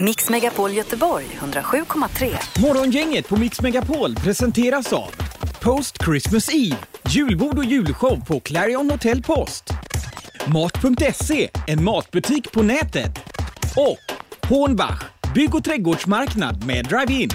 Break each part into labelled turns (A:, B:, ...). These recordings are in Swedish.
A: Mix Megapol Göteborg 107,3.
B: Morgongänget på Mix Megapol presenteras av Post Christmas Eve, julbord och julshow på Clarion Hotel Post. Mat.se, en matbutik på nätet. Och Hornbach, bygg och trädgårdsmarknad med drive-in.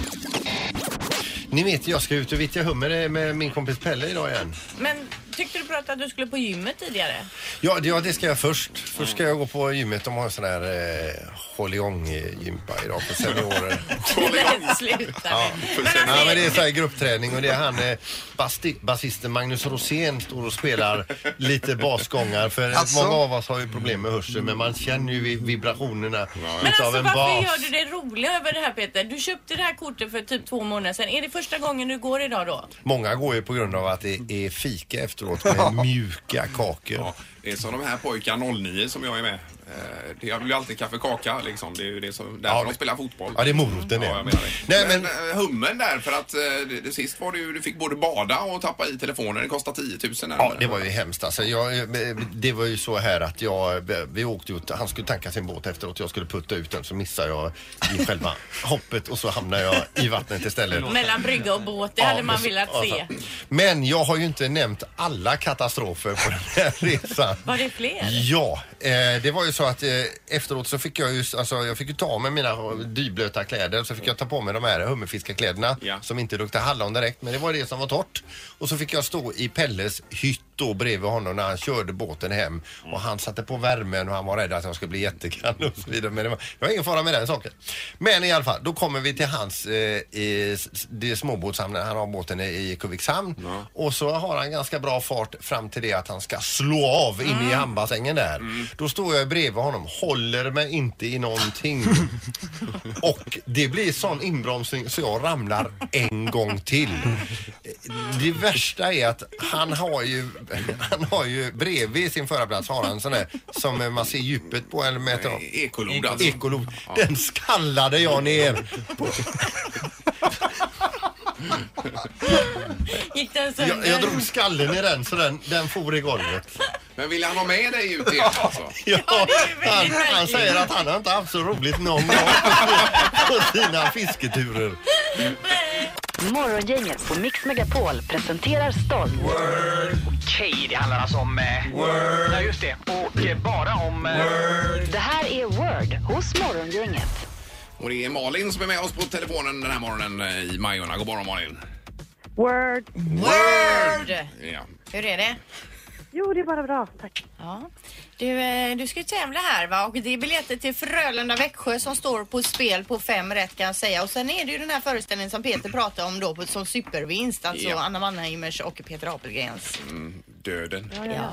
C: Ni vet, jag ska ut och vittja hummer med min kompis Pelle idag igen.
D: Men tyckte du pratade att du skulle på gymmet tidigare?
C: Ja, det, ja, det ska jag först. Först ska jag gå på gymmet. De har en sån här eh, håll-igång-gympa idag för seniorer.
D: Nej, sluta
C: Ja,
D: nu.
C: för
D: Men
C: sen- ja,
D: alltså,
C: men det är så här gruppträning och det är han eh, basti- basisten Magnus Rosén står och spelar lite basgångar för
E: Alltså?
C: många av oss har ju problem med hörseln men man känner ju vi- vibrationerna
D: men
C: utav
D: alltså
C: en
D: varför
C: bas.
D: gör du det roliga över det här Peter? Du köpte det här kortet för typ två månader sedan. Är det första gången du går idag då?
C: Många går ju på grund av att det är fika efteråt med mjuka kakor.
E: Ja, det är som de här pojkarna 09 som jag är med. Eh, Det blir ju alltid kaffekaka liksom. Det är ju det som, därför
C: Ja,
E: de
C: det-
E: spelar fotboll.
C: Ja, det är moroten det.
E: Ja, jag menar det.
C: Nej,
E: men,
C: men-
E: eh, hummen där för att eh, det, det sist var det ju, du fick både bada och tappa i telefonen. Det kostar 10 000
C: Ja, det var ju hemskt alltså. jag, eh, Det var ju så här att jag, eh, vi åkte ut, han skulle tanka sin båt efteråt, jag skulle putta ut den så missade jag i själva hoppet och så hamnade jag i vattnet istället.
D: Mellan brygga och båt, det
C: Ja,
D: hade man
C: men-
D: velat se.
C: alltså. Men jag har ju inte nämnt alla katastrofer på den här resan.
D: Var det fler?
C: Ja, eh, det var ju så att eh, efteråt så fick jag ju, alltså jag fick ju ta av mig mina dyblöta kläder så fick jag ta på mig de här hummerfiskarkläderna
E: Ja.
C: som inte luktade hallon direkt men det var det som var torrt. Och så fick jag stå i Pelles hytt då bredvid honom när han körde båten hem och han satte på värmen och han var rädd att jag skulle bli jättekall och så vidare men det var, det var ingen fara med den saken. Men i alla fall, då kommer vi till hans, eh, i, s- s- det är småbåtshamnen, han har båten i, i Kuvikshamn och så har han ganska bra fart fram till det att han ska slå av in i hamnbassängen där. Då står jag bredvid honom, håller mig inte i någonting. och det blir sån inbromsning så jag ramlar en gång till. Det värsta är att han har ju, han har ju bredvid sin förarplats har han sån där som man ser djupet på eller mäter av.
E: Ekolod alltså.
C: Ekolod. Den skallade jag ner.
D: Gick den
C: Jag,
D: sönder?
C: jag drog skallen i den så den, den for i golvet.
E: Men ville han ha med dig ut igen alltså?
C: Ja,
D: det är väldigt
C: han, han
D: märkligt.
C: säger att han har inte haft så roligt någon gång på sina fisketurer.
A: Morgongänget på Mix Megapol presenterar stolt
F: Okej, det handlar alltså om... Eh, Ja, just det. Och eh, bara om... Eh,
A: Det här är Word hos Morgongänget.
E: Och det är Malin som är med oss på telefonen den här morgonen eh, i Majorna. God morgon Malin.
G: Word.
D: Word!
E: Ja.
D: Hur är det?
G: Jo, det är bara bra. Tack.
D: Ja. Du, eh, du ska ju tävla här va och det är biljetter till Frölunda-Växjö som står på spel på fem rätt kan jag säga. Och sen är det ju den här föreställningen som Peter pratade om då på- som supervinst, alltså
E: Ja.
D: Anna Mannheimers och Peter Apelgrens.
E: Döden.
D: Ja.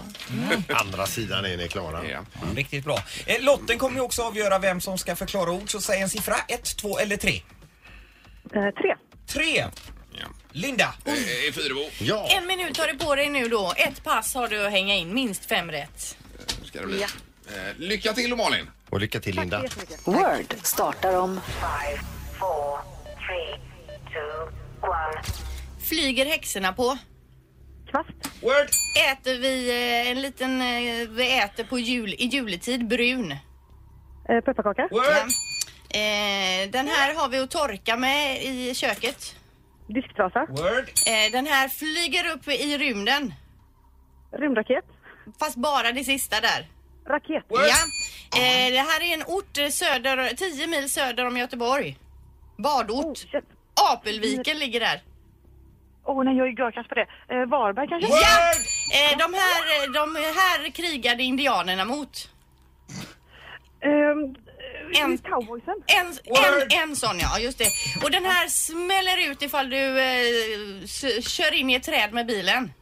C: Andra sidan är ni klara.
E: Ja.
H: Riktigt bra. Eh, Lotten kommer ju också avgöra vem som ska förklara ord, så säg en siffra. Ett, två eller tre.
G: Eh, tre.
H: Tre!
E: Ja.
H: Linda!
E: Eh, eh, Fyrebo.
C: Ja,
D: En minut har du på dig nu då. Ett pass har du att hänga in, minst fem rätt.
E: Ska det bli. Eh, lycka till då Malin.
C: och lycka till Linda.
A: Word startar om
D: Flyger häxorna på?
G: Kvast.
H: Word!
D: Äter vi eh, en liten, eh, vi äter på jul, i juletid brun?
G: Eh, pepparkaka.
H: Word!
D: Eh, den här har vi att torka med i köket.
G: Disktrasa.
H: Word!
D: Eh, den här flyger upp i rymden.
G: Rymdraket.
D: Fast bara det sista där.
G: Raket.
H: Word.
D: Ja. Eh, det här är en ort eh, söder, 10 mil söder om Göteborg. Badort.
G: Oh, Shit.
D: Apelviken ligger där.
G: Åh oh, nej, jag är görkast på det. Eh, Varberg kanske?
D: Ja! Eh, de, här, eh, de här krigade indianerna mot.
G: Ehm, Eh,
D: En-
G: Cowboysen.
D: En,
H: Word.
D: en, en sån ja, just det. Och den här smäller ut ifall du eh, s- kör in i ett träd med bilen.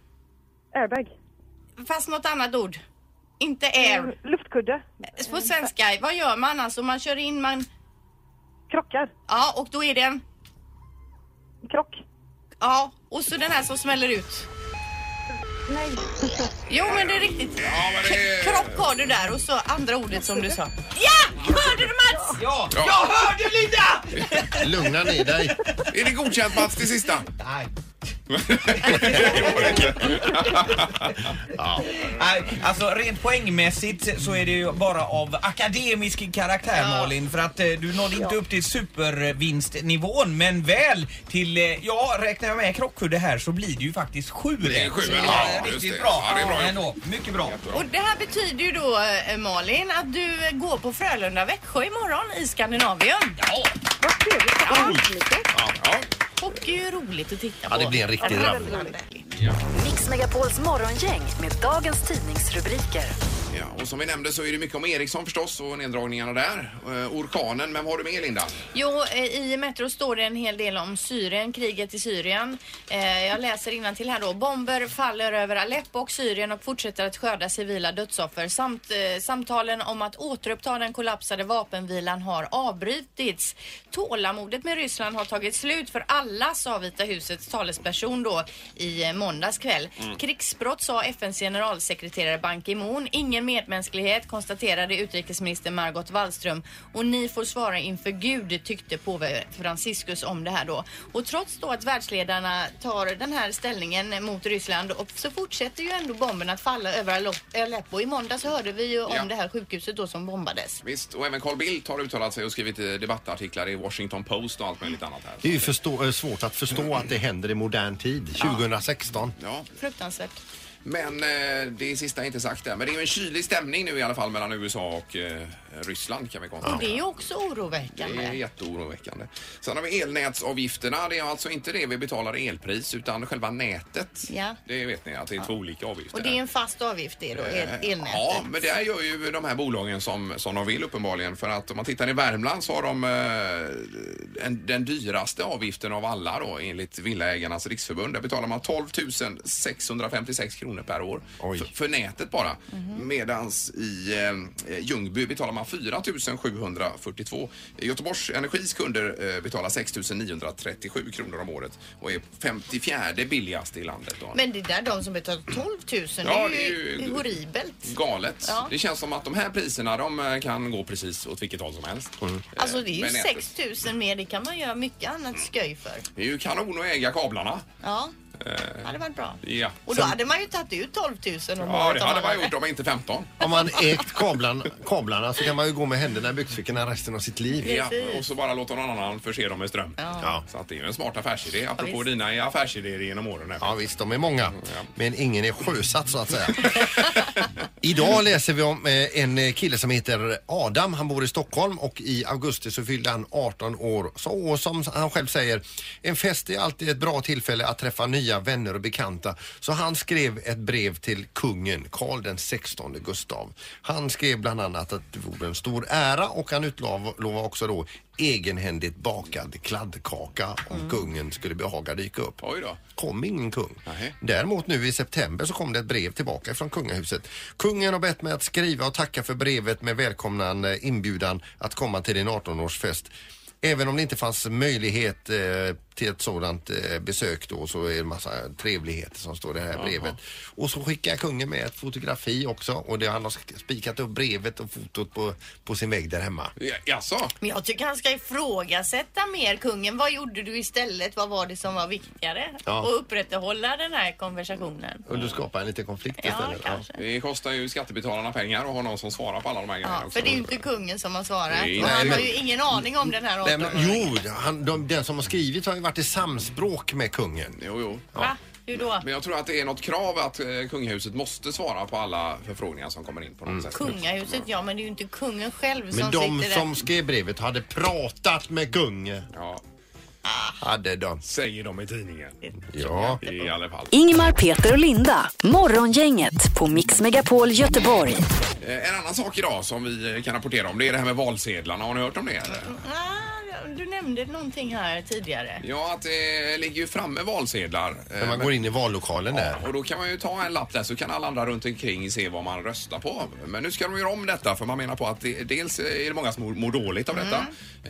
G: Airbag.
D: Fast något annat ord. Inte air.
G: Ehm, Luftkudde.
D: På svenska, vad gör man alltså? Man kör in, man...
G: Krockar.
D: Ja, och då är det en...
G: Krock.
D: Ja, och så den här som smäller ut.
G: Nej.
D: Jo, men det är riktigt.
E: Ja, men det är-
D: Kropp har du där och så andra ordet som du sa. Ja! Hörde du Mats?
H: Ja! Jag hörde Linda!
C: Lugna ner dig.
E: Är det godkänt Mats till sista?
H: Nej. Nej, alltså rent poängmässigt så är det ju bara av akademisk karaktär Malin för att eh, du nådde inte upp till supervinstnivån men väl till, eh, ja räknar jag med krockkudde här så blir det ju faktiskt sju
E: Det är sju,
H: Så
E: ja,
H: det är
E: just
H: Riktigt
E: det.
H: bra.
E: Ja, det är bra.
H: Ändå, mycket bra.
D: Och det här betyder ju då eh, Malin att du eh, går på Frölunda-Växjö imorgon i Skandinavien.
G: Vad trevligt att ha lite.
E: Ja,
D: Hockey är ju roligt att titta på.
C: Ja, det blir en riktig rabbel.
A: Mix Megapols morgongäng med dagens tidningsrubriker.
E: ja, och som vi nämnde så är det mycket om Ericsson förstås och neddragningarna där. Eh, orkanen, men vad har du med Linda?
D: Jo, eh, i Metro står det en hel del om Syrien, kriget i Syrien. Eh, Jag läser till här då. Bomber faller över Aleppo och Syrien och fortsätter att skörda civila dödsoffer. Samt, eh, samtalen om att återuppta den kollapsade vapenvilan har avbrutits. Tålamodet med Ryssland har tagit slut för alla, sa Vita husets talesperson då i eh, måndags kväll.
E: Mm.
D: Krigsbrott sa FNs generalsekreterare Ban Ki-Moon. Ingen medmänsklighet konstaterade utrikesminister Margot Wallström. Och ni får svara inför Gud tyckte påve Franciscus om det här då. Och trots då att världsledarna tar den här ställningen mot Ryssland och så fortsätter ju ändå bomberna att falla över Alop- Aleppo. I måndags hörde vi ju om
E: Ja.
D: det här sjukhuset då som bombades.
E: Visst, och även Carl Bildt har uttalat sig och skrivit eh, debattartiklar i Washington Post och allt möjligt annat här.
C: Det är ju förstå- eh, svårt att förstå att det händer i modern tid, 2016.
E: Ja,
D: Fruktansvärt.
E: men eh, det sista är inte sagt där. Men det är ju en kylig stämning nu i alla fall mellan USA och eh, Ryssland kan vi konstatera.
D: Och det är ju också
E: Det är
D: oroväckande.
E: jätteoroväckande. Sen har vi elnätsavgifterna. Det är alltså inte det vi betalar i elpris utan själva nätet.
D: Ja.
E: Det vet ni att det är två olika avgifter.
D: Och det är en fast avgift det då, el- elnätet.
E: Eh, Ja, men det här gör ju de här bolagen som, som de vill uppenbarligen. För att om man tittar i Värmland så har de eh, en, den dyraste avgiften av alla då enligt Villaägarnas riksförbund. Där betalar man 12 656 kronor per år
C: Oj.
E: för, för nätet bara. Medans i eh, Ljungby betalar man 4 742. Göteborgs Energis kunder eh, betalar 6 937 kronor om året och är 54 billigast i landet. Då.
D: Men det där de som betalar 12 000,
E: Ja,
D: det är ju
E: det är ju-
D: horribelt.
E: Galet.
D: Ja.
E: Det känns som att de här priserna de eh, kan gå precis åt vilket håll som helst.
C: Mm.
E: Eh,
D: Alltså det är ju
E: men Mm. nätet.
D: 6 000 mer, det kan man göra mycket annat sköj för.
E: Det är ju kanon att äga kablarna.
D: Ja, det hade varit bra.
E: Eh, Ja.
D: Och då
E: Sen-
D: hade man ju tagit ut 12 000 om
E: Ja,
D: året
E: det
D: om
E: hade man
D: hade-
E: gjort om inte 15.
C: Om man ägt kablarna, kablarna så kan man ju gå med händerna i byxfickorna resten av sitt liv.
E: Ja,
D: Precis.
E: och så bara låta någon annan förse dem med ström.
C: Ja.
E: Så att det är ju en smart affärsidé. Apropå
D: visst.
E: dina affärsidéer genom åren. här. Mm,
C: Ja visst, de är många. Men ingen är sjösatt så att säga. Idag läser vi om eh, en eh, kille som heter Adam. Han bor i Stockholm och i augusti så fyllde han 18 år. Så och som han själv säger, en fest är alltid ett bra tillfälle att träffa nya vänner och bekanta. Så han skrev ett brev till kungen, Karl den 16 Gustav. Han skrev bland annat att det vore en stor ära och han utlovade också då egenhändigt bakad kladdkaka om kungen skulle behaga dyka upp
E: Mm. Oj då.
C: kom ingen kung.
E: Nej.
C: Däremot nu i september så kom det ett brev tillbaka från kungahuset. Kungen har bett mig att skriva och tacka för brevet med välkomnande inbjudan att komma till din 18-årsfest. Även om det inte fanns möjlighet eh, till ett sådant eh, besök då så är det en massa trevligheter som står i det här brevet. Och så skickar kungen med ett fotografi också och det, han har sk- spikat upp brevet och fotot på, på sin vägg där hemma.
E: Ja, Jaså?
D: Men jag tycker han ska ifrågasätta mer kungen. Vad gjorde du istället? Vad var det som var viktigare?
C: Ja.
D: Och upprätthålla den här konversationen.
C: Och du skapar en liten konflikt
D: Ja,
C: istället. Ja.
D: kanske.
E: Det kostar ju skattebetalarna pengar att ha någon som svarar på alla de här grejerna
D: Ja,
E: också.
D: för det är ju inte kungen som har svarat.
E: Nej,
D: och han
C: nej,
D: har ju ingen aning om den här
C: Nej,
D: åldern.
C: men, jo, han, de, den som har skrivit har ju varit i samspråk med kungen.
E: Jo, jo.
D: Va? Hur då?
E: Men jag tror att det är något krav att eh, kungahuset måste svara på alla förfrågningar som kommer in på något
C: Mm.
E: sätt.
D: Kungahuset, ja men det är ju inte kungen själv
C: Men
D: som
C: de
D: sitter där.
C: som skrev brevet hade pratat med kungen.
E: Ja,
C: Hade de.
E: säger de i tidningen.
C: Ja.
E: I alla fall.
A: Ingmar, Peter och Linda. Morgongänget på Mix Megapol Göteborg.
E: Eh, En annan sak idag som vi eh, kan rapportera om det är det här med valsedlarna. Har ni hört om det? Eller?
D: Ah, du nämnde någonting här tidigare.
E: Ja, att det ligger ju framme valsedlar. eh,
C: När man
E: men-
C: går in i vallokalen där.
E: och då kan man ju ta en lapp där så kan alla andra runt omkring se vad man röstar på. Men nu ska de göra om detta för man menar på att det, dels är det många
D: Mm.
E: som mår, mår dåligt av detta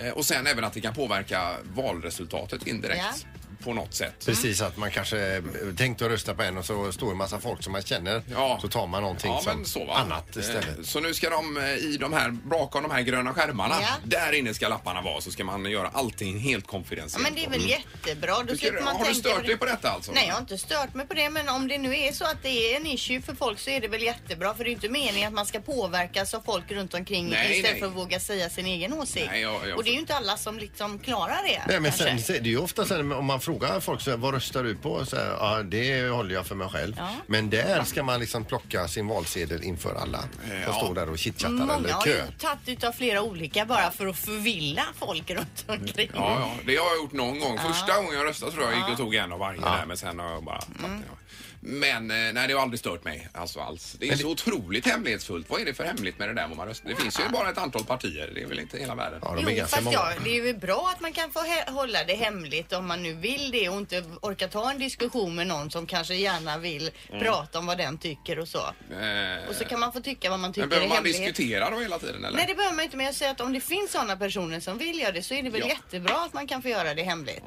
E: eh, och sen även att det kan påverka valresultatet indirekt.
D: Ja.
E: på något sätt.
C: Precis, att man kanske eh, tänkte att rösta på en och så står en massa folk som man känner.
E: Ja.
C: Så tar man någonting
E: Ja,
C: som
E: men så va.
C: annat istället.
E: Eh, Så nu ska de eh, i de här, bakom de här gröna skärmarna,
D: Ja.
E: där inne ska lapparna vara så ska man göra allting helt
D: Ja,
E: konfidentiellt.
D: men det är väl
E: Mm.
D: jättebra. Då
E: Tycker du-
D: slipper man
E: har du
D: tänka
E: stört dig på detta alltså?
D: Nej, jag har inte stört mig på det. Men om det nu är så att det är en issue för folk så är det väl jättebra. För det är ju inte meningen att man ska påverkas av folk runt omkring
E: Nej,
D: istället
E: nej.
D: för att våga säga sin egen åsikt.
E: Nej, jag- jag-
D: Och det är ju inte alla som liksom klarar det.
C: Nej, men sen,
D: kanske.
C: det är ju ofta så här, om man frågar folk så här, vad röstar du på? Så här, ja, det håller jag för mig själv.
D: Ja.
C: Men där ska man liksom plocka sin valsedel inför alla som
E: Ja. Mm,
C: står där och chitchattar eller
D: Många har ju
C: kö.
D: tagit utav flera olika bara för att förvilla folk runt omkring.
E: Ja, ja, det har jag gjort någon gång. Första gången jag röstade tror jag gick och tog en av varje där men sen har jag bara
D: Mm.
E: Men eh, nej, det har aldrig stört mig alltså, alls. Det är så otroligt hemlighetsfullt. Vad är det för hemligt med det där vad man röstar? Det finns ju bara ett antal partier. Det är väl inte hela världen. Eh,
C: Ja, de är
D: Jo,
C: ganska
D: fast
C: många.
D: ja, det är ju bra att man kan få he- hålla det hemligt om man nu vill det och inte orkar ta en diskussion med någon som kanske gärna vill
E: Mm.
D: prata om vad den tycker och så.
E: Eh,
D: Och så kan man få tycka vad man tycker
E: men behöver
D: i
E: man
D: hemlighet.
E: diskutera då hela tiden eller?
D: Nej det behöver man inte men jag säger att om det finns sådana personer som vill göra det så är det väl
E: Ja. Mm.
D: jättebra att man kan få göra det hemligt.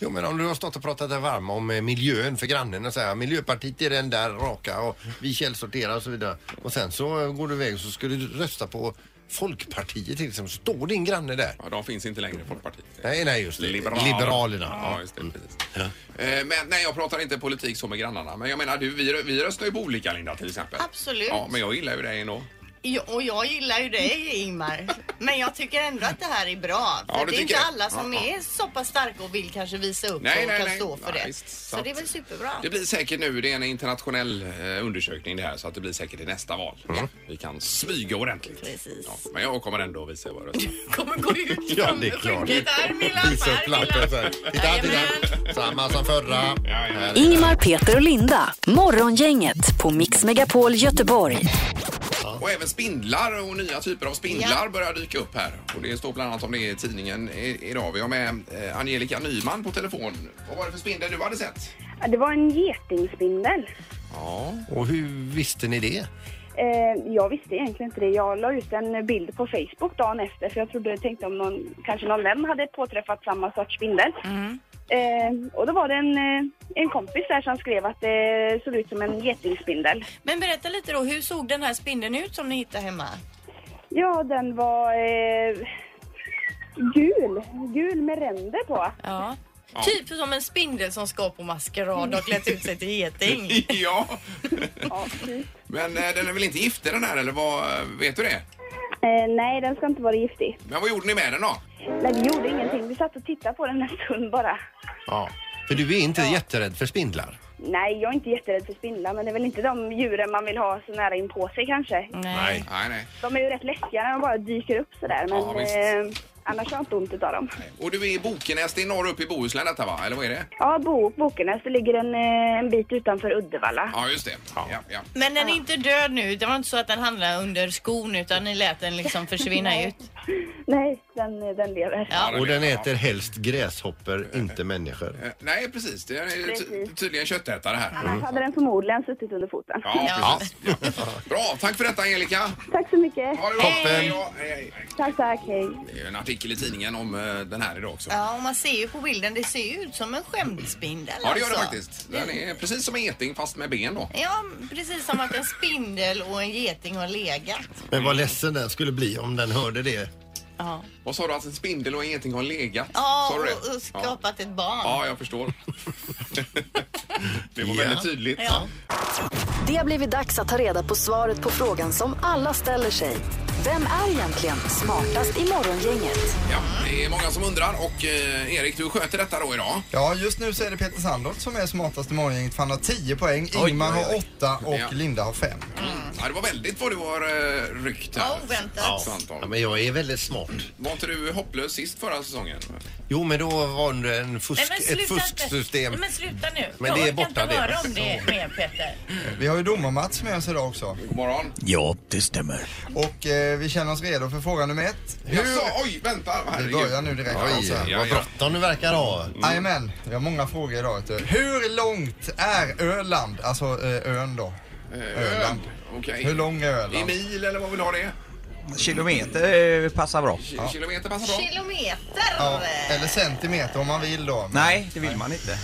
C: Jo, men om du har stått och pratat dig varm om eh, miljön för grannen och säger Miljöpartiet är den där raka och vi källsorterar och så vidare. Och sen så eh, går du iväg och så skulle du rösta på Folkpartiet till exempel. Står din granne där?
E: Ja, de finns inte längre i Folkpartiet.
C: Nej, nej, just det.
E: Liberalerna.
C: Liberalerna. Mm.
E: Ja, just det, precis. Eh, Men nej, jag pratar inte politik så med grannarna. Men jag menar, du, vi, rö- vi röstar ju på olika Linda till exempel.
D: Absolut.
E: Ja, men jag gillar ju dig ändå.
D: Jo, och jag gillar ju dig Ingmar. Men jag tycker ändå att det här är bra. För
E: Ja, du
D: det är inte
E: tycker det?
D: alla som
E: Ja, ja.
D: är så pass starka och vill kanske visa upp
E: Nej,
D: och
E: nej,
D: kan
E: nej.
D: stå för
E: Nej,
D: det.
E: visst.
D: så
E: Sant.
D: det är väl superbra.
E: Det blir säkert nu, det är en internationell eh, undersökning det här, så att det blir säkert i nästa val.
C: Mm.
E: Vi kan smyga ordentligt.
D: Precis.
E: Ja, men jag kommer ändå visa vad jag röstar.
D: kommer gå ut
C: Ja, det är klart.
D: skicka ett arm i
C: Visa upp lappen så
E: alltså.
C: här. Titta, titta.
D: Jajamän.
C: Samma som förra.
E: ja.
A: Ingmar, Peter och Linda. Morgongänget på Mix Megapol Göteborg.
E: Och även spindlar och nya typer av spindlar
D: Ja.
E: börjar dyka upp här. Och det står bland annat om det i tidningen i- idag. Vi har med eh, Angelica Nyman på telefon. Vad var det för spindel du hade sett?
I: Det var en getingspindel.
E: Ja,
C: Och hur visste ni det?
I: Eh, jag visste egentligen inte det. Jag la ut en bild på Facebook dagen efter för jag trodde, tänkte om någon, kanske någon vän hade påträffat samma sorts spindel.
D: Mm.
I: Eh, och då var det en, eh, en kompis där som skrev att det såg ut som en getingspindel.
D: Men berätta lite då, hur såg den här spindeln ut som ni hittade hemma?
I: Ja, den var eh, gul. Gul med ränder på.
D: Ja. Typ som en spindel som ska på maskerad och klätt ut sig till geting.
E: ja.
I: Ja, precis.
E: men eh, den är väl inte giftig den här eller vad, vet du det?
I: eh, nej, den ska inte vara giftig.
E: Men vad gjorde ni med den då?
I: Nej, vi gjorde ingenting. Vi satt och tittade på den en stund bara.
C: Ja. För du är inte jätterädd för spindlar?
I: Nej, jag är inte jätterädd för spindlar, men det är väl inte de djuren man vill ha så nära in på sig kanske.
D: Nej.
E: Nej, nej.
I: De är ju rätt läskiga när de bara dyker upp sådär, men
E: Ja, visst.
I: eh, annars har jag inte ont utav dem.
E: Och du är i Bokenäs, det är norr upp i Bohuslän detta va? Eller vad är det?
I: Ja, Bo Bokenäs, det ligger en, eh, en bit utanför Uddevalla.
E: Ja, just det. Ja, ja.
D: Men den är inte död nu. Det var inte så att den hamnade under skon utan ni lät den liksom försvinna ut.
I: Nej, den, eh, den lever.
D: Ja.
C: Och den
E: Ja.
C: äter helst gräshoppor, inte människor.
E: Eh, Nej, precis. Det är ty-
I: Precis.
E: tydligen köttätare här.
D: Mm.
I: Annars hade den förmodligen suttit under foten.
E: Ja, precis. Ja. Bra, tack för detta Angelica.
I: Tack så mycket.
E: Ha det bra.
C: Toppen.
E: Ja, hej, hej.
I: Tack, tack, hej.
E: Det är en artikel i tidningen om eh, den här idag också.
D: Ja, och man ser ju på bilden, det ser ju ut som en skämtspindel
E: Ja, det gör det
D: alltså.
E: faktiskt. Den är precis som en geting fast med ben då.
D: Ja, precis som att en spindel och en geting har legat.
C: Men
E: Mm.
C: vad ledsen den skulle bli om den hörde det.
D: Ja,
E: Vad sa du? Alltså en spindel och en geting har legat?
D: ja
E: Sa du det?
D: och, och skapat ett barn.
E: Ja, jag förstår. det var väldigt tydligt.
D: Ja.
A: Det har blivit dags att ta reda på svaret på frågan som alla ställer sig. Vem är egentligen smartast i Morgongänget?
E: Ja, det är många som undrar och eh, Erik, du sköter detta då idag.
J: Ja, just nu så är det Peter Sandholt som är smartast i morgongänget för han har 10 poäng,
C: Oj,
J: Ingmar
C: oj, oj.
J: har 8 och
E: Ja.
J: Linda har 5.
E: Ja, det var väldigt vad du har eh, ryckt här.
D: Ja, oväntat.
E: Ja.
C: Ja,
E: Anton.
C: men jag är väldigt smart.
E: Var inte du hopplös sist förra säsongen?
C: Jo, men då var det en fusk,
K: Nej, men sluta
C: ett fusksystem.
K: Nej, men sluta nu.
C: Men det är
K: jag orkar
C: borta
K: inte
C: det.
K: höra om det mer Peter.
J: Vi har ju domar-Mats med oss idag också.
E: God morgon.
L: Ja, det stämmer.
J: Och eh, vi känner oss redo för fråga nummer ett. Hur...
E: Jaså, oj, vänta.
J: Vi
E: Herregud.
J: börjar nu direkt.
C: Oj,
J: alltså.
E: ja.
C: vad bråttom du verkar ha.
J: Jajamän, vi har många frågor idag. vet du. Hur långt är Öland, alltså eh, ön då?
E: Eh,
J: Öland.
E: Okej.
J: Hur lång är
E: I
J: Öland?
E: mil eller vad vill du ha det?
H: Kilometer eh, passar bra.
E: Kilometer passar
D: bra. Kilometer!
J: Ja, eller centimeter om man vill då.
H: Nej, det vill man inte.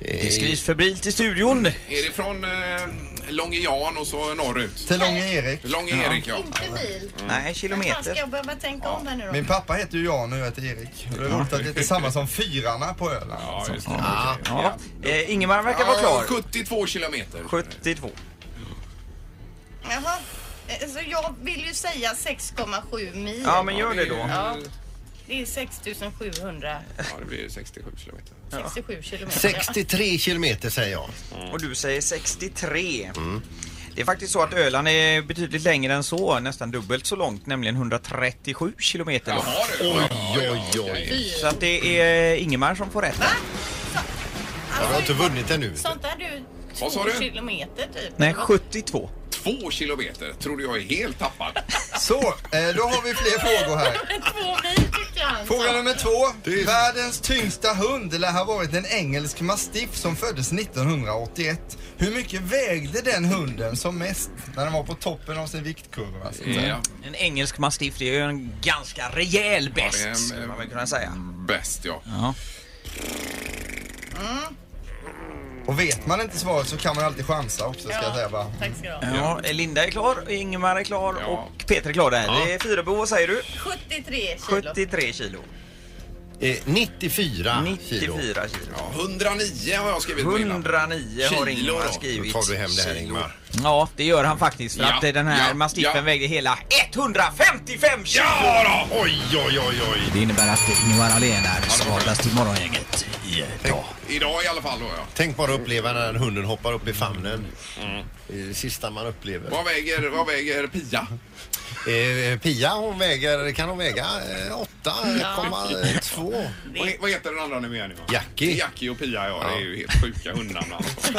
H: Det skrivs febrilt i studion.
E: Är det från eh, Långe Jan och så norrut?
J: Till Långe Erik.
E: Långe
J: Ja.
E: Erik, ja.
D: Inte bil.
H: Nej,
D: Fan, ska jag behöva tänka om här nu då?
J: Min pappa heter ju Jan och jag heter Erik. Och det är roligt att det är samma som fyrarna på Öland.
E: Ja, just det.
J: Ja,
H: ja. Eh, Ingemar verkar vara klar.
E: 72 kilometer.
H: 72.
D: Jaha. Eh, Så jag vill ju säga 6,7 mil.
H: Ja, men gör det då.
D: Ja. Det är 6700.
E: Ja, det blir 67 kilometer.
D: 67 kilometer.
C: 63 kilometer säger jag.
E: Mm.
H: Och du säger 63. Det är faktiskt så att Öland är betydligt längre än så, nästan dubbelt så långt, nämligen 137 kilometer långt.
C: Oj, oj, oj.
H: Så att det är Ingemar som får rätt.
C: Jag har inte vunnit ännu.
D: Alltså, Sånt där du
E: Vad sa
D: två
E: du?
D: kilometer typ.
H: Nej, 72.
E: Två kilometer trodde jag är helt tappad.
J: Så, eh, då har vi fler frågor här.
D: Två mil tyckte jag han sa.
J: Fråga nummer två. Världens tyngsta hund lär ha varit en engelsk mastiff som föddes 1981. Hur mycket vägde den hunden som mest när den var på toppen av sin viktkurva? Så att säga?
H: En engelsk mastiff, det är ju en ganska rejäl bäst,
E: Ja, det är en- eh, mm,
H: skulle man väl kunna säga.
E: Bäst, ja.
H: Ja.
J: Och vet man inte svaret så kan man alltid chansa också ska jag säga bara.
D: Tack ska du ha.
H: Ja, Linda är klar, Ingemar är klar och Peter är klar där. Det är Fyrebo, vad säger du?
D: 73 kilo.
H: 73 kilo.
C: Eh, 94,
H: 94
C: kilo.
H: kilo.
E: Ja, 109 har jag skrivit på innan.
H: 109 har
E: Kilo
H: Ingemar
E: då.
C: Då
H: skrivit.
C: tar du hem det här Ingmar.
H: Ja, det gör han faktiskt för
E: Ja,
H: att eh, den här
E: ja,
H: mastiffen
E: ja.
H: vägde hela 155 kilo!
E: Ja då!
C: Oj, oj, oj, oj.
M: Det innebär att Ingemar Ahlén är skadas till morgongänget idag.
E: Idag i alla fall då, ja.
C: Tänk bara uppleva när hunden hoppar upp i famnen.
E: Mm.
C: Det är det sista man upplever.
E: Vad väger, vad väger Pia?
C: Eh, Pia hon väger, kan hon väga eh, 8,2?
E: Vad, he- vad heter den andra nu igen? Ja.
C: Jackie.
E: Jackie och Pia, ja. Det är ju helt sjuka hundnamn. alltså.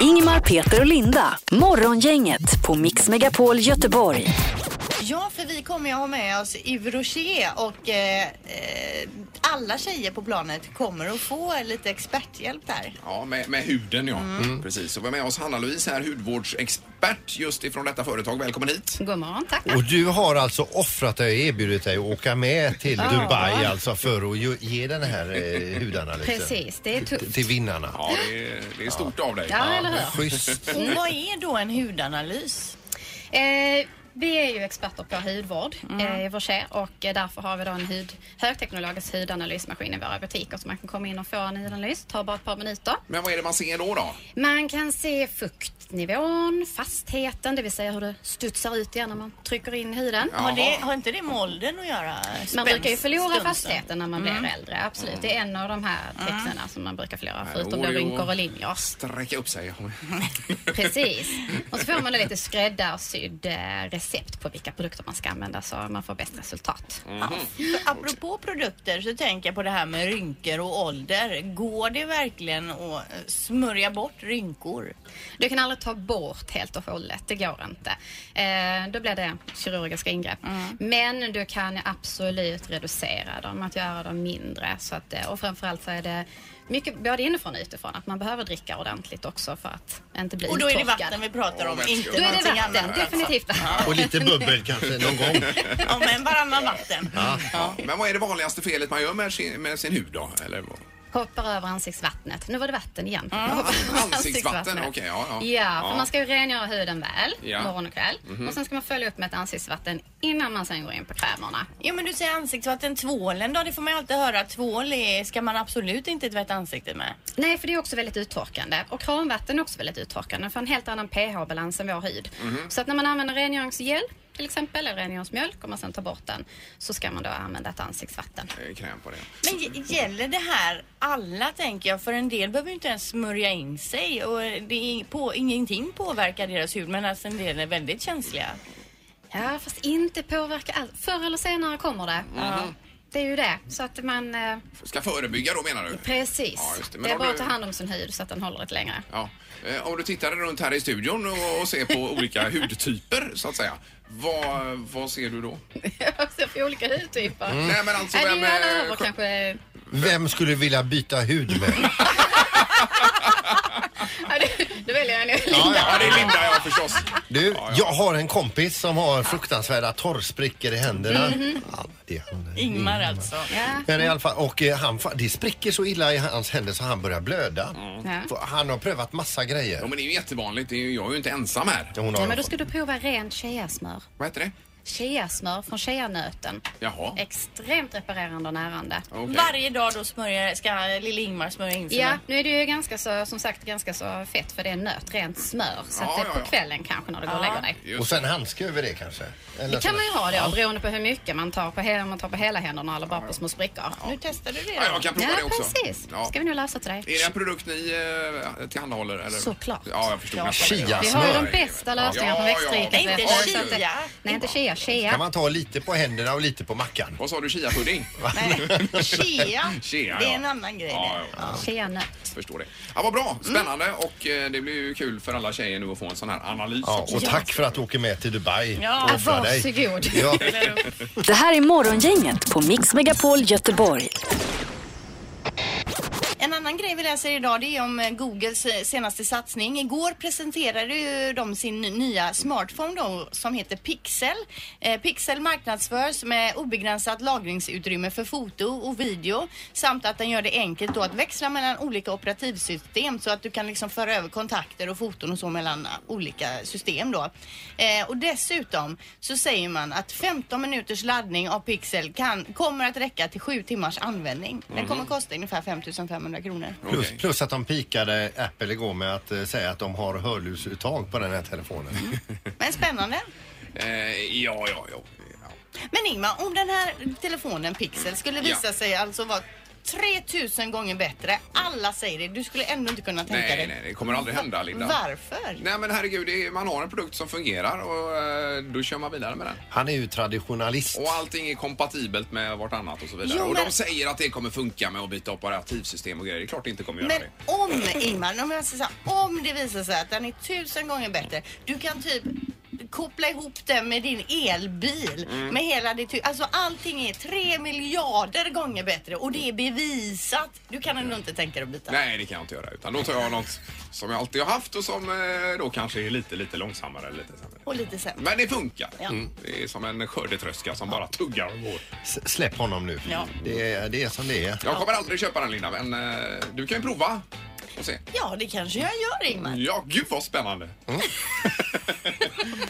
A: Ingmar, Peter och Linda. Morgongänget på Mix Megapol Göteborg.
D: Ja, för vi kommer ju ha med oss Yves Rocher och eh, eh, alla tjejer på planet kommer att få lite experthjälp där.
E: Ja, med, med huden, ja. Mm. Precis. Och vi har med oss Hanna-Louise här, hudvårdsexpert just ifrån detta företag. Välkommen hit.
I: God morgon, tack.
C: Och du har alltså offrat dig och erbjudit dig att åka med till
I: Ja.
C: Dubai alltså för att ju- ge den här eh, hudanalysen.
I: Precis, det är
C: T-
I: tufft.
C: Till vinnarna.
E: Ja, det är, det är stort av dig.
I: Ja, eller hur?
C: Schysst.
D: Och vad är då en hudanalys?
I: Eh, vi är ju experter på hudvård eh, i Forshé och eh, därför har vi då en hud, högteknologisk hudanalysmaskin i våra butiker så man kan komma in och få en hudanalys. Det tar bara ett par minuter.
E: Men vad är det man ser då? då?
I: Man kan se fuktnivån, fastheten, det vill säga hur det studsar ut igen när man trycker in huden.
E: Jaha.
D: Har, det, har inte det med åldern att göra?
I: Man brukar ju förlora
D: Spänsten.
I: fastheten när man blir äldre, absolut. Det är en av de här tecknen som man brukar förlora, förutom
E: Oj,
I: då
E: oj.
I: rynkor och linjer.
E: Sträcka upp sig.
I: Precis. Och så får man då lite skräddarsydd eh, recept på vilka produkter man ska använda så man får bäst resultat.
D: Apropå produkter så tänker jag på det här med rynkor och ålder. Går det verkligen att eh, smörja bort rynkor?
I: Du kan aldrig ta bort helt och hållet, det går inte. Eh, då blir det kirurgiska ingrepp.
D: Mm.
I: Men du kan absolut reducera dem, att göra dem mindre. Så att, eh, och framförallt så är det mycket både inifrån och utifrån, att man behöver dricka ordentligt också för att inte bli
D: Och då är det
I: uttorkad.
D: vatten vi pratar om,
E: Åh,
D: inte
I: Då är det
D: någonting
I: vatten,
D: annat. alltså.
I: definitivt.
C: Och lite bubbel kanske någon gång.
D: Ja, men varannan vatten.
E: Ja. Men vad är det vanligaste felet man gör med sin, med sin hud? då? Eller? vad?
I: Hoppar över ansiktsvattnet. Nu var det vatten igen.
D: Mm.
E: Ansiktsvatten, okej. ja, ja.
I: Ja, för man ska ju rengöra huden väl
E: Ja.
I: morgon och kväll.
D: Mhm.
I: Och sen ska man följa upp med ett ansiktsvatten innan man sen går in på krämerna.
D: Ja men du säger ansiktsvatten, tvålen då? Det får man ju alltid höra. Tvål är, ska man absolut inte tvätta ansiktet med.
I: Nej, för det är också väldigt uttorkande. Och kranvatten är också väldigt uttorkande. Den får en helt annan pH-balans än vår hud.
E: Mhm.
I: Så att när man använder rengöringsgel till exempel, eller rengöringsmjölk, och man sen tar bort den, så ska man då använda ett ansiktsvatten.
E: Eh, Kräm på det.
D: Men g- gäller det här alla tänker jag? För en del behöver ju inte ens smörja in sig och det är på, ingenting påverkar deras hud medan en del är väldigt känsliga.
I: Ja, fast inte påverka allt. Förr eller senare kommer det.
E: Mhm.
I: Det är ju det. Så att man... Eh,
E: Ska förebygga då menar du?
I: precis.
E: Ja, just det.
I: det.
E: Men
I: är
E: har
I: bara
E: du-
I: att ta hand om sin hud så att den håller lite längre.
E: Ja. Eh, Om du tittar runt här i studion och, och ser på olika hudtyper så att säga. Vad, vad ser du då?
I: Också för olika hudtyper.
E: Nej men alltså
I: Nej, det är
E: vem...
I: ju alla
E: eh,
I: över kanske.
C: Vem skulle vilja byta hud med?
I: Ja, det, det väljer jag nog.
E: Ja, ja, det är Linda ja förstås.
C: Du, jag har en kompis som har fruktansvärda torrsprickor i händerna.
N: Mhm. Ingmar
E: Mm.
N: alltså.
C: Men i alla fall, och eh, han, fa- det spricker så illa i hans händer så han börjar blöda.
I: Ja.
C: För Han har prövat massa grejer.
E: Ja, men det är ju jättevanligt. Det är ju, jag är ju inte ensam här.
C: Hon
I: Ja, men då ska du prova rent cheasmör.
E: Vad heter det?
I: Cheasmör från cheanöten.
E: Jaha.
I: Extremt reparerande och närande.
D: Varje dag då smörjer, ska lille Ingmar smörja in sina...
I: Ja, nu är det ju ganska så, som sagt ganska så fett för det är nöt, rent smör. Så att det är på kvällen kanske när du går och lägger dig.
C: Och sen handske över det kanske? Eller
I: Det kan
C: så-
I: man ju ha det
C: Ja.
I: av beroende på hur mycket man tar på, he- om man tar på hela händerna eller bara på små sprickor.
E: Nu
D: testar du det.
E: Ja, jag kan prova
I: ja,
E: det också.
I: precis.
E: Ja.
I: Ska vi nu lösa till dig.
E: Är det en produkt ni eh, tillhandahåller? Eller?
I: Såklart.
E: Ja, jag förstod
I: Ja.
E: nästan det.
I: Vi har ju de bästa lösningarna på
E: Ja, ja.
I: växtriket.
E: Nej, inte
I: vet du, så att det-
E: chia.
I: Nej, inte chia. Chia.
C: Kan man ta lite på händerna och lite på mackan?
E: Vad sa du, chiapudding?
D: Chia.
E: Chia,
D: Det är
E: ja.
D: en annan grej.
E: Ja, ja, ja. Jag förstår det. Ja, vad bra, spännande och eh, det blir ju kul för alla tjejer nu att få en sån här analys
C: Ja,
E: också.
C: och tack för att du åker med till Dubai.
E: Ja.
C: och offrar dig.
A: Varsågod.
C: Ja.
A: Det här är Morgongänget på Mix Megapol Göteborg.
D: En annan grej vi läser idag det är om eh, Googles eh, senaste satsning. Igår presenterade ju de sin ny- nya smartphone då, som heter Pixel. Eh, Pixel marknadsförs med obegränsat lagringsutrymme för foto och video samt att den gör det enkelt då att växla mellan olika operativsystem så att du kan liksom föra över kontakter och foton och så mellan eh, olika system då. Eh, och dessutom så säger man att 15 minuters laddning av Pixel kan, kommer att räcka till 7 timmars användning. Den
C: Mhm.
D: kommer kosta ungefär 5 500 kronor.
E: Mm.
C: Plus, plus att de pikade Apple igår med att eh, säga att de har hörlursuttag på den här telefonen.
D: Men spännande.
E: Eh, ja, ja, ja.
D: Men Ingmar, om den här telefonen Pixel skulle visa sig alltså vara 3000 gånger bättre. Alla säger det. Du skulle ändå inte kunna tänka
E: Nej,
D: dig.
E: nej, det kommer aldrig hända, Linda.
D: Varför?
E: Nej, men herregud, det är, man har en produkt som fungerar och eh, då kör man vidare med den.
C: Han är ju traditionalist.
E: Och allting är kompatibelt med vartannat och så vidare.
D: Jo,
E: och de
D: men-
E: säger att det kommer funka med att byta operativsystem och grejer. Det är klart det inte kommer göra
D: Men
E: det.
D: om Ingmar, om, jag säger så här, om det visar sig att den är tusen gånger bättre. Du kan typ koppla ihop den med din elbil.
E: Mm.
D: Med hela ditt, hu- alltså allting är tre miljarder gånger bättre och det är bevisat. Du kan ändå inte tänka dig att byta.
E: Nej, det kan jag inte göra. Utan då tar jag något som jag alltid har haft och som eh, då kanske är lite, lite långsammare. eller Lite sämre.
D: Och lite sämre.
E: Men det funkar.
D: Ja.
E: Mm. Det är som en skördetröska som bara tuggar och går.
C: S- släpp honom nu.
D: Ja.
C: Det, är, det är som det är.
E: Jag kommer aldrig köpa den Linda, men eh, du kan ju prova och se.
D: Ja, det kanske jag gör Ingmar.
E: Ja, gud vad spännande.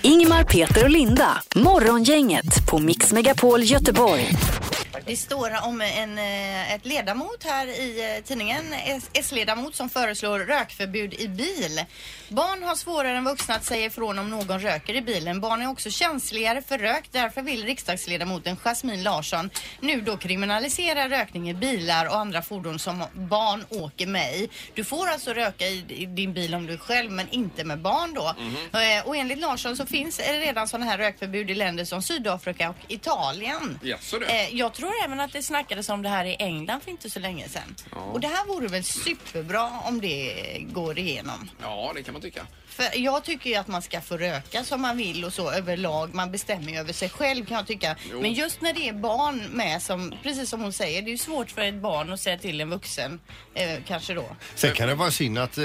A: Ingmar, Peter och Linda. Morgongänget på Mix Megapol Göteborg.
D: Det står om en, eh, ett ledamot här i eh, tidningen, S- S-ledamot som föreslår rökförbud i bil. Barn har svårare än vuxna att säga ifrån om någon röker i bilen. Barn är också känsligare för rök. Därför vill riksdagsledamoten Jasmine Larsson nu då kriminalisera rökning i bilar och andra fordon som barn åker med i. Du får alltså röka i i din bil om du är själv men inte med barn då. Eh, Och enligt Larsson så finns eh, redan sådana här rökförbud i länder som Sydafrika och Italien.
E: Jaså du.
D: Eh, jag tror även att det snackades om det här i England för inte så länge sedan. Och det här vore väl superbra om det eh, går igenom.
E: Ja, det kan man tycka.
D: För jag tycker ju att man ska få röka som man vill och så överlag. Man bestämmer ju över sig själv kan jag tycka.
E: Jo.
D: Men just när det är barn med som, precis som hon säger, det är ju svårt för ett barn att säga till en vuxen eh, kanske då.
C: Sen kan det vara synd att eh,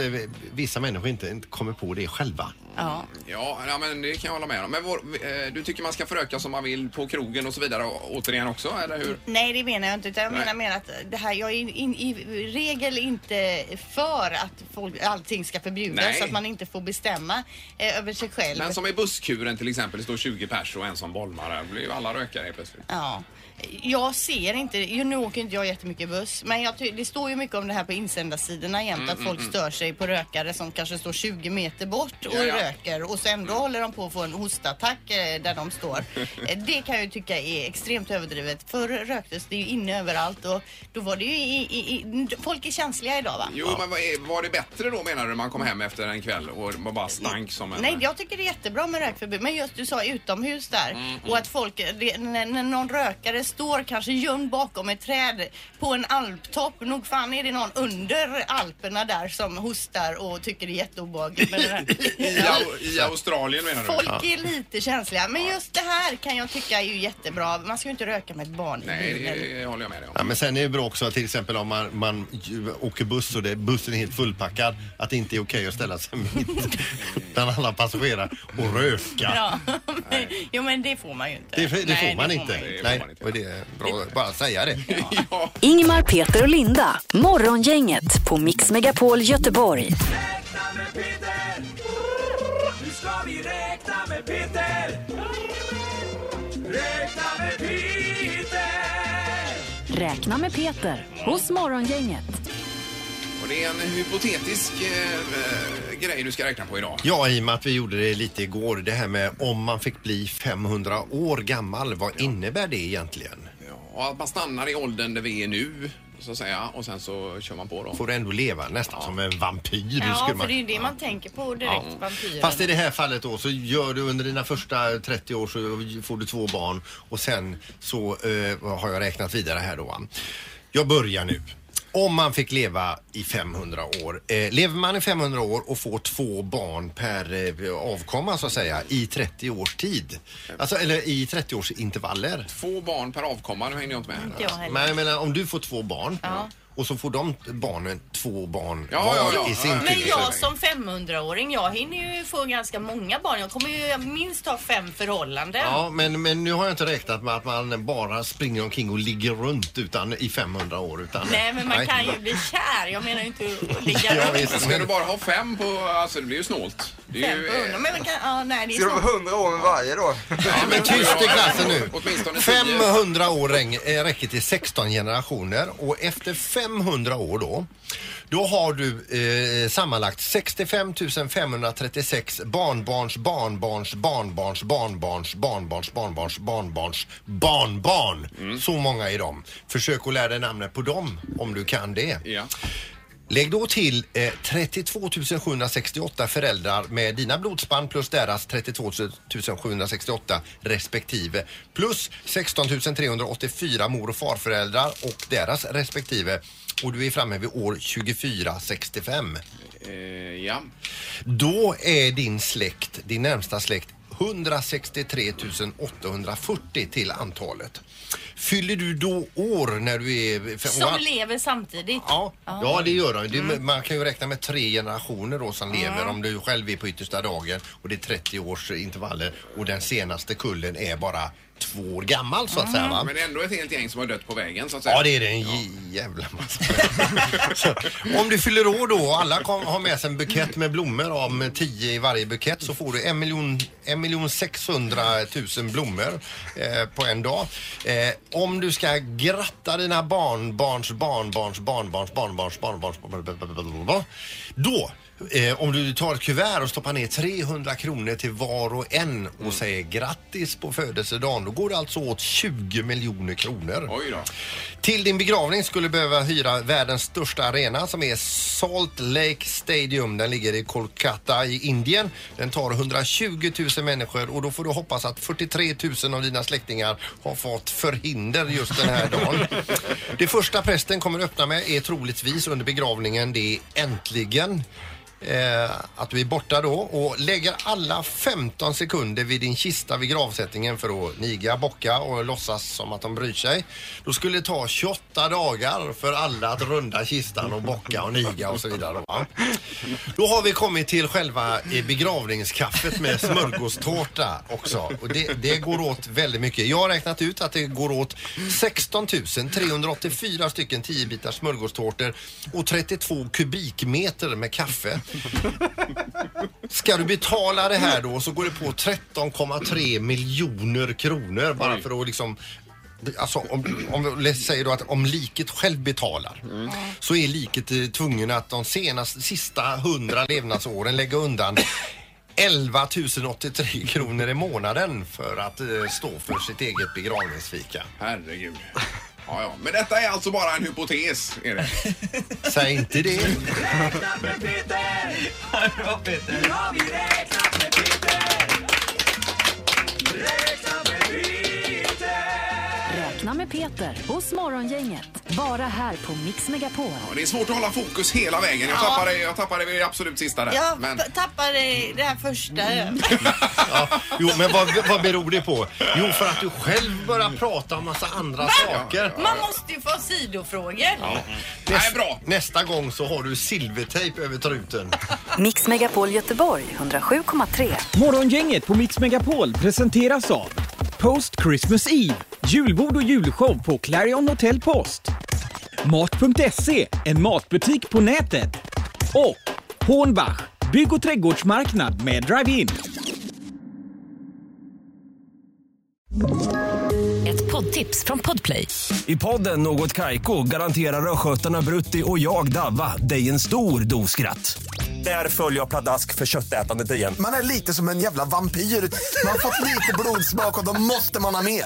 C: vissa människor inte, inte kommer på det själva.
D: Ja.
E: Ja, ja, men det kan jag hålla med om. Men vår, eh, du tycker man ska föröka som man vill på krogen och så vidare å- återigen också, eller hur?
D: Nej, det menar jag inte. Utan jag
E: Nej.
D: menar mer att det här, jag är in, in, i regel inte för att folk, allting ska förbjudas.
E: Nej.
D: Så att man inte får bestämma eh, över sig själv.
E: Men som i busskuren till exempel, det står 20 pers och en som bolmar. Där blir ju alla rökare helt plötsligt.
D: Ja. Jag ser inte, ju, nu åker inte jag jättemycket buss, men jag ty- det står ju mycket om det här på insändarsidorna jämt
E: Mm,
D: att
E: mm,
D: folk
E: mm.
D: stör sig på rökare som kanske står 20 meter bort och
E: Ja, ja.
D: röker och sen då håller de på att få en hostattack eh, där de står. Eh, det kan jag ju tycka är extremt överdrivet. Förr röktes det ju inne överallt och då var det ju i, i, i, folk är känsliga idag va?
E: Jo,
D: Ja.
E: men vad är- var det bättre då menar du man kom hem efter en kväll och det var bara stank som en...
D: Nej, jag tycker det är jättebra med rökförbud. Men just du sa utomhus där
E: Mm,
C: Mm-hmm.
D: och att folk, det, när, när någon rökare står kanske gömd bakom ett träd på en alptopp. Nog fan är det någon under alperna där som hostar och tycker det är jätteobehagligt med den här.
E: I Au- I Australien menar du?
N: Folk
E: Ja.
N: är lite känsliga, men just det här kan jag tycka är ju jättebra. Man ska ju inte röka med ett barn i bilen.
E: Det håller jag med dig om.
C: Ja, men sen är det bra också att till exempel om man, man ju- åker buss och det, bussen är helt fullpackad att det inte är okej att ställa sig mitt bland alla passagerare och röka.
N: Bra. Men, jo, men det får man ju inte.
C: Det, det, får
N: Nej,
C: man inte. Nej, och det är bra bara att säga det.
A: Ingmar, Peter och Linda. Morgongänget på Mix Megapol Göteborg.
O: Nu ska vi räkna med Peter! Räkna med Peter!
A: Räkna med Peter hos Morgongänget.
E: Och det är en hypotetisk eh, eh, grej du ska räkna på idag.
C: Ja, i och med att vi gjorde det lite igår, det här med om man fick bli 500 år gammal, vad innebär det egentligen?
E: Och att man stannar i åldern där vi är nu, så att säga, och sen så kör man på då.
C: Får du ändå leva nästan som en vampyr?
N: Ja,
C: skulle
N: för
C: man...
N: det är ju det man tänker på direkt,
C: Ja.
N: vampyren.
C: Fast i det här fallet då så gör du under dina första 30 år så får du två barn och sen så eh, har jag räknat vidare här då. va. Jag börjar nu. Om man fick leva i 500 år. Eh, lever man i 500 år och får två barn per eh, avkomma så att säga i 30 års tid. Alltså eller i 30 års intervaller.
E: Två barn per avkomma, nu hänger jag inte med.
C: Inte jag heller. Men jag menar om du får två barn
N: Ja.
C: och så får de barnen två barn
E: Ja,
C: var
E: ja, ja.
C: i sin
N: Men
C: tur.
N: jag som 500-åring, jag hinner ju få ganska många barn. Jag kommer ju minst ha fem förhållanden.
C: Ja, men, men nu har jag inte räknat med att man bara springer omkring och ligger runt utan, i 500 år. Utan,
N: Nej, men man kan ju bli kär. Jag menar ju inte att ligga
C: Ja,
N: runt.
C: visst.
E: Ska du bara ha fem på... Alltså det blir ju snålt. Det är
N: Fem
E: ju,
N: på hundra. Men man kan, ja, nej, det är
J: Ska de
N: snart.
J: vara 100 år med varje då?
C: Men tyst i klassen nu.
E: Åtminstone tio.
C: 500 år räng- eh, räcker till 16 generationer och efter 500 år då, då har du eh, sammanlagt 65 536 barnbarns, barnbarns, barnbarns, barnbarns, barnbarns, barnbarns, barnbarns, barnbarn.
E: Mm.
C: Så många är de. Försök att lära dig namnet på dem om du kan det. Lägg då till eh, 32 768 föräldrar med dina blodspann plus deras 32 768 respektive. Plus 16 384 mor och farföräldrar och deras respektive. Och du är framme vid år 2465.
E: Eh, ja.
C: Då är din släkt, din närmsta släkt 163 840 till antalet. Fyller du då år när du är... fem-
N: Som lever samtidigt.
C: Ja, Ja, det gör de. Det, Man kan ju räkna med tre generationer då som lever om du själv är på yttersta dagen och det är 30 års intervaller och den senaste kullen är bara två år gammal så att säga. Va?
E: Men det är ändå ett helt gäng som har dött på vägen så att säga.
C: Ja, det är det. En jävla massa. så, om du fyller år då och alla kom, har med sig en bukett med blommor om 10 i varje bukett så får du 1 miljon, 1 miljon 600 000 blommor eh, på en dag. Eh, om du ska gratta dina barnbarns barnbarns barnbarns barnbarns barnbarns barnbarns då Eh, om du tar ett kuvert och stoppar ner 300 kronor till var och en och
E: Mm.
C: säger grattis på födelsedagen, då går det alltså åt 20 miljoner kronor.
E: Oj då.
C: Till din begravning skulle du behöva hyra världens största arena som är Salt Lake Stadium. Den ligger i Kolkata i Indien. Den tar 120 000 människor och då får du hoppas att 43 000 av dina släktingar har fått förhinder just den här dagen. Det första prästen kommer öppna med är troligtvis under begravningen det är äntligen. Eh, att du är borta då och lägger alla 15 sekunder vid din kista vid gravsättningen för att niga, bocka och låtsas som att de bryr sig. Då skulle det ta 28 dagar för alla att runda kistan och bocka och niga och så vidare. Va? Då har vi kommit till själva eh, begravningskaffet med smörgåstårta också. Och det, det går åt väldigt mycket. Jag har räknat ut att det går åt 16 384 stycken 10 bitar smörgåstårtor och 32 kubikmeter med kaffe. Ska du betala det här då så går det på 13,3 miljoner kronor bara för att liksom Alltså om, om vi säger då att om liket själv betalar så är liket eh, tvungen att de senaste, sista 100 levnadsåren lägga undan 11 083 kronor i månaden för att eh, stå för sitt eget begravningsfika.
E: Herregud. Ja, ja. Men detta är alltså bara en hypotes. Är det.
C: Säg inte det.
O: Räkna med Peter! Bra Peter! Nu har vi räknat med Peter! Räkna med Peter!
A: Vakna med Peter hos Morgongänget. Bara här på Mix Megapol.
E: Ja, Det är svårt att hålla fokus hela vägen. Jag
D: Ja.
E: tappade, jag tappade vid det absolut sista där.
D: Jag
E: Men,
D: t- tappade det här första.
C: Jo, men vad, vad beror det på? Jo, för att du själv börjar prata om massa andra saker.
D: Man måste ju få sidofrågor.
C: Näst, Nästa gång så har du silvertejp över truten.
A: Mix Megapol Göteborg 107,3.
H: Morgongänget på Mix Megapol presenteras av Post Christmas Eve, julbord och julshow på Clarion Hotel Post. Mat.se, en matbutik på nätet. Och Hornbach, bygg och trädgårdsmarknad med drive-in.
I: Ett poddtips från Podplay. I podden Något Kaiko garanterar östgötarna Brutti och jag, Davva, dig en stor dos skratt. Där följer jag pladask för köttätandet igen.
J: Man är lite som en jävla vampyr. Man har fått lite blodsmak och då måste man ha mer.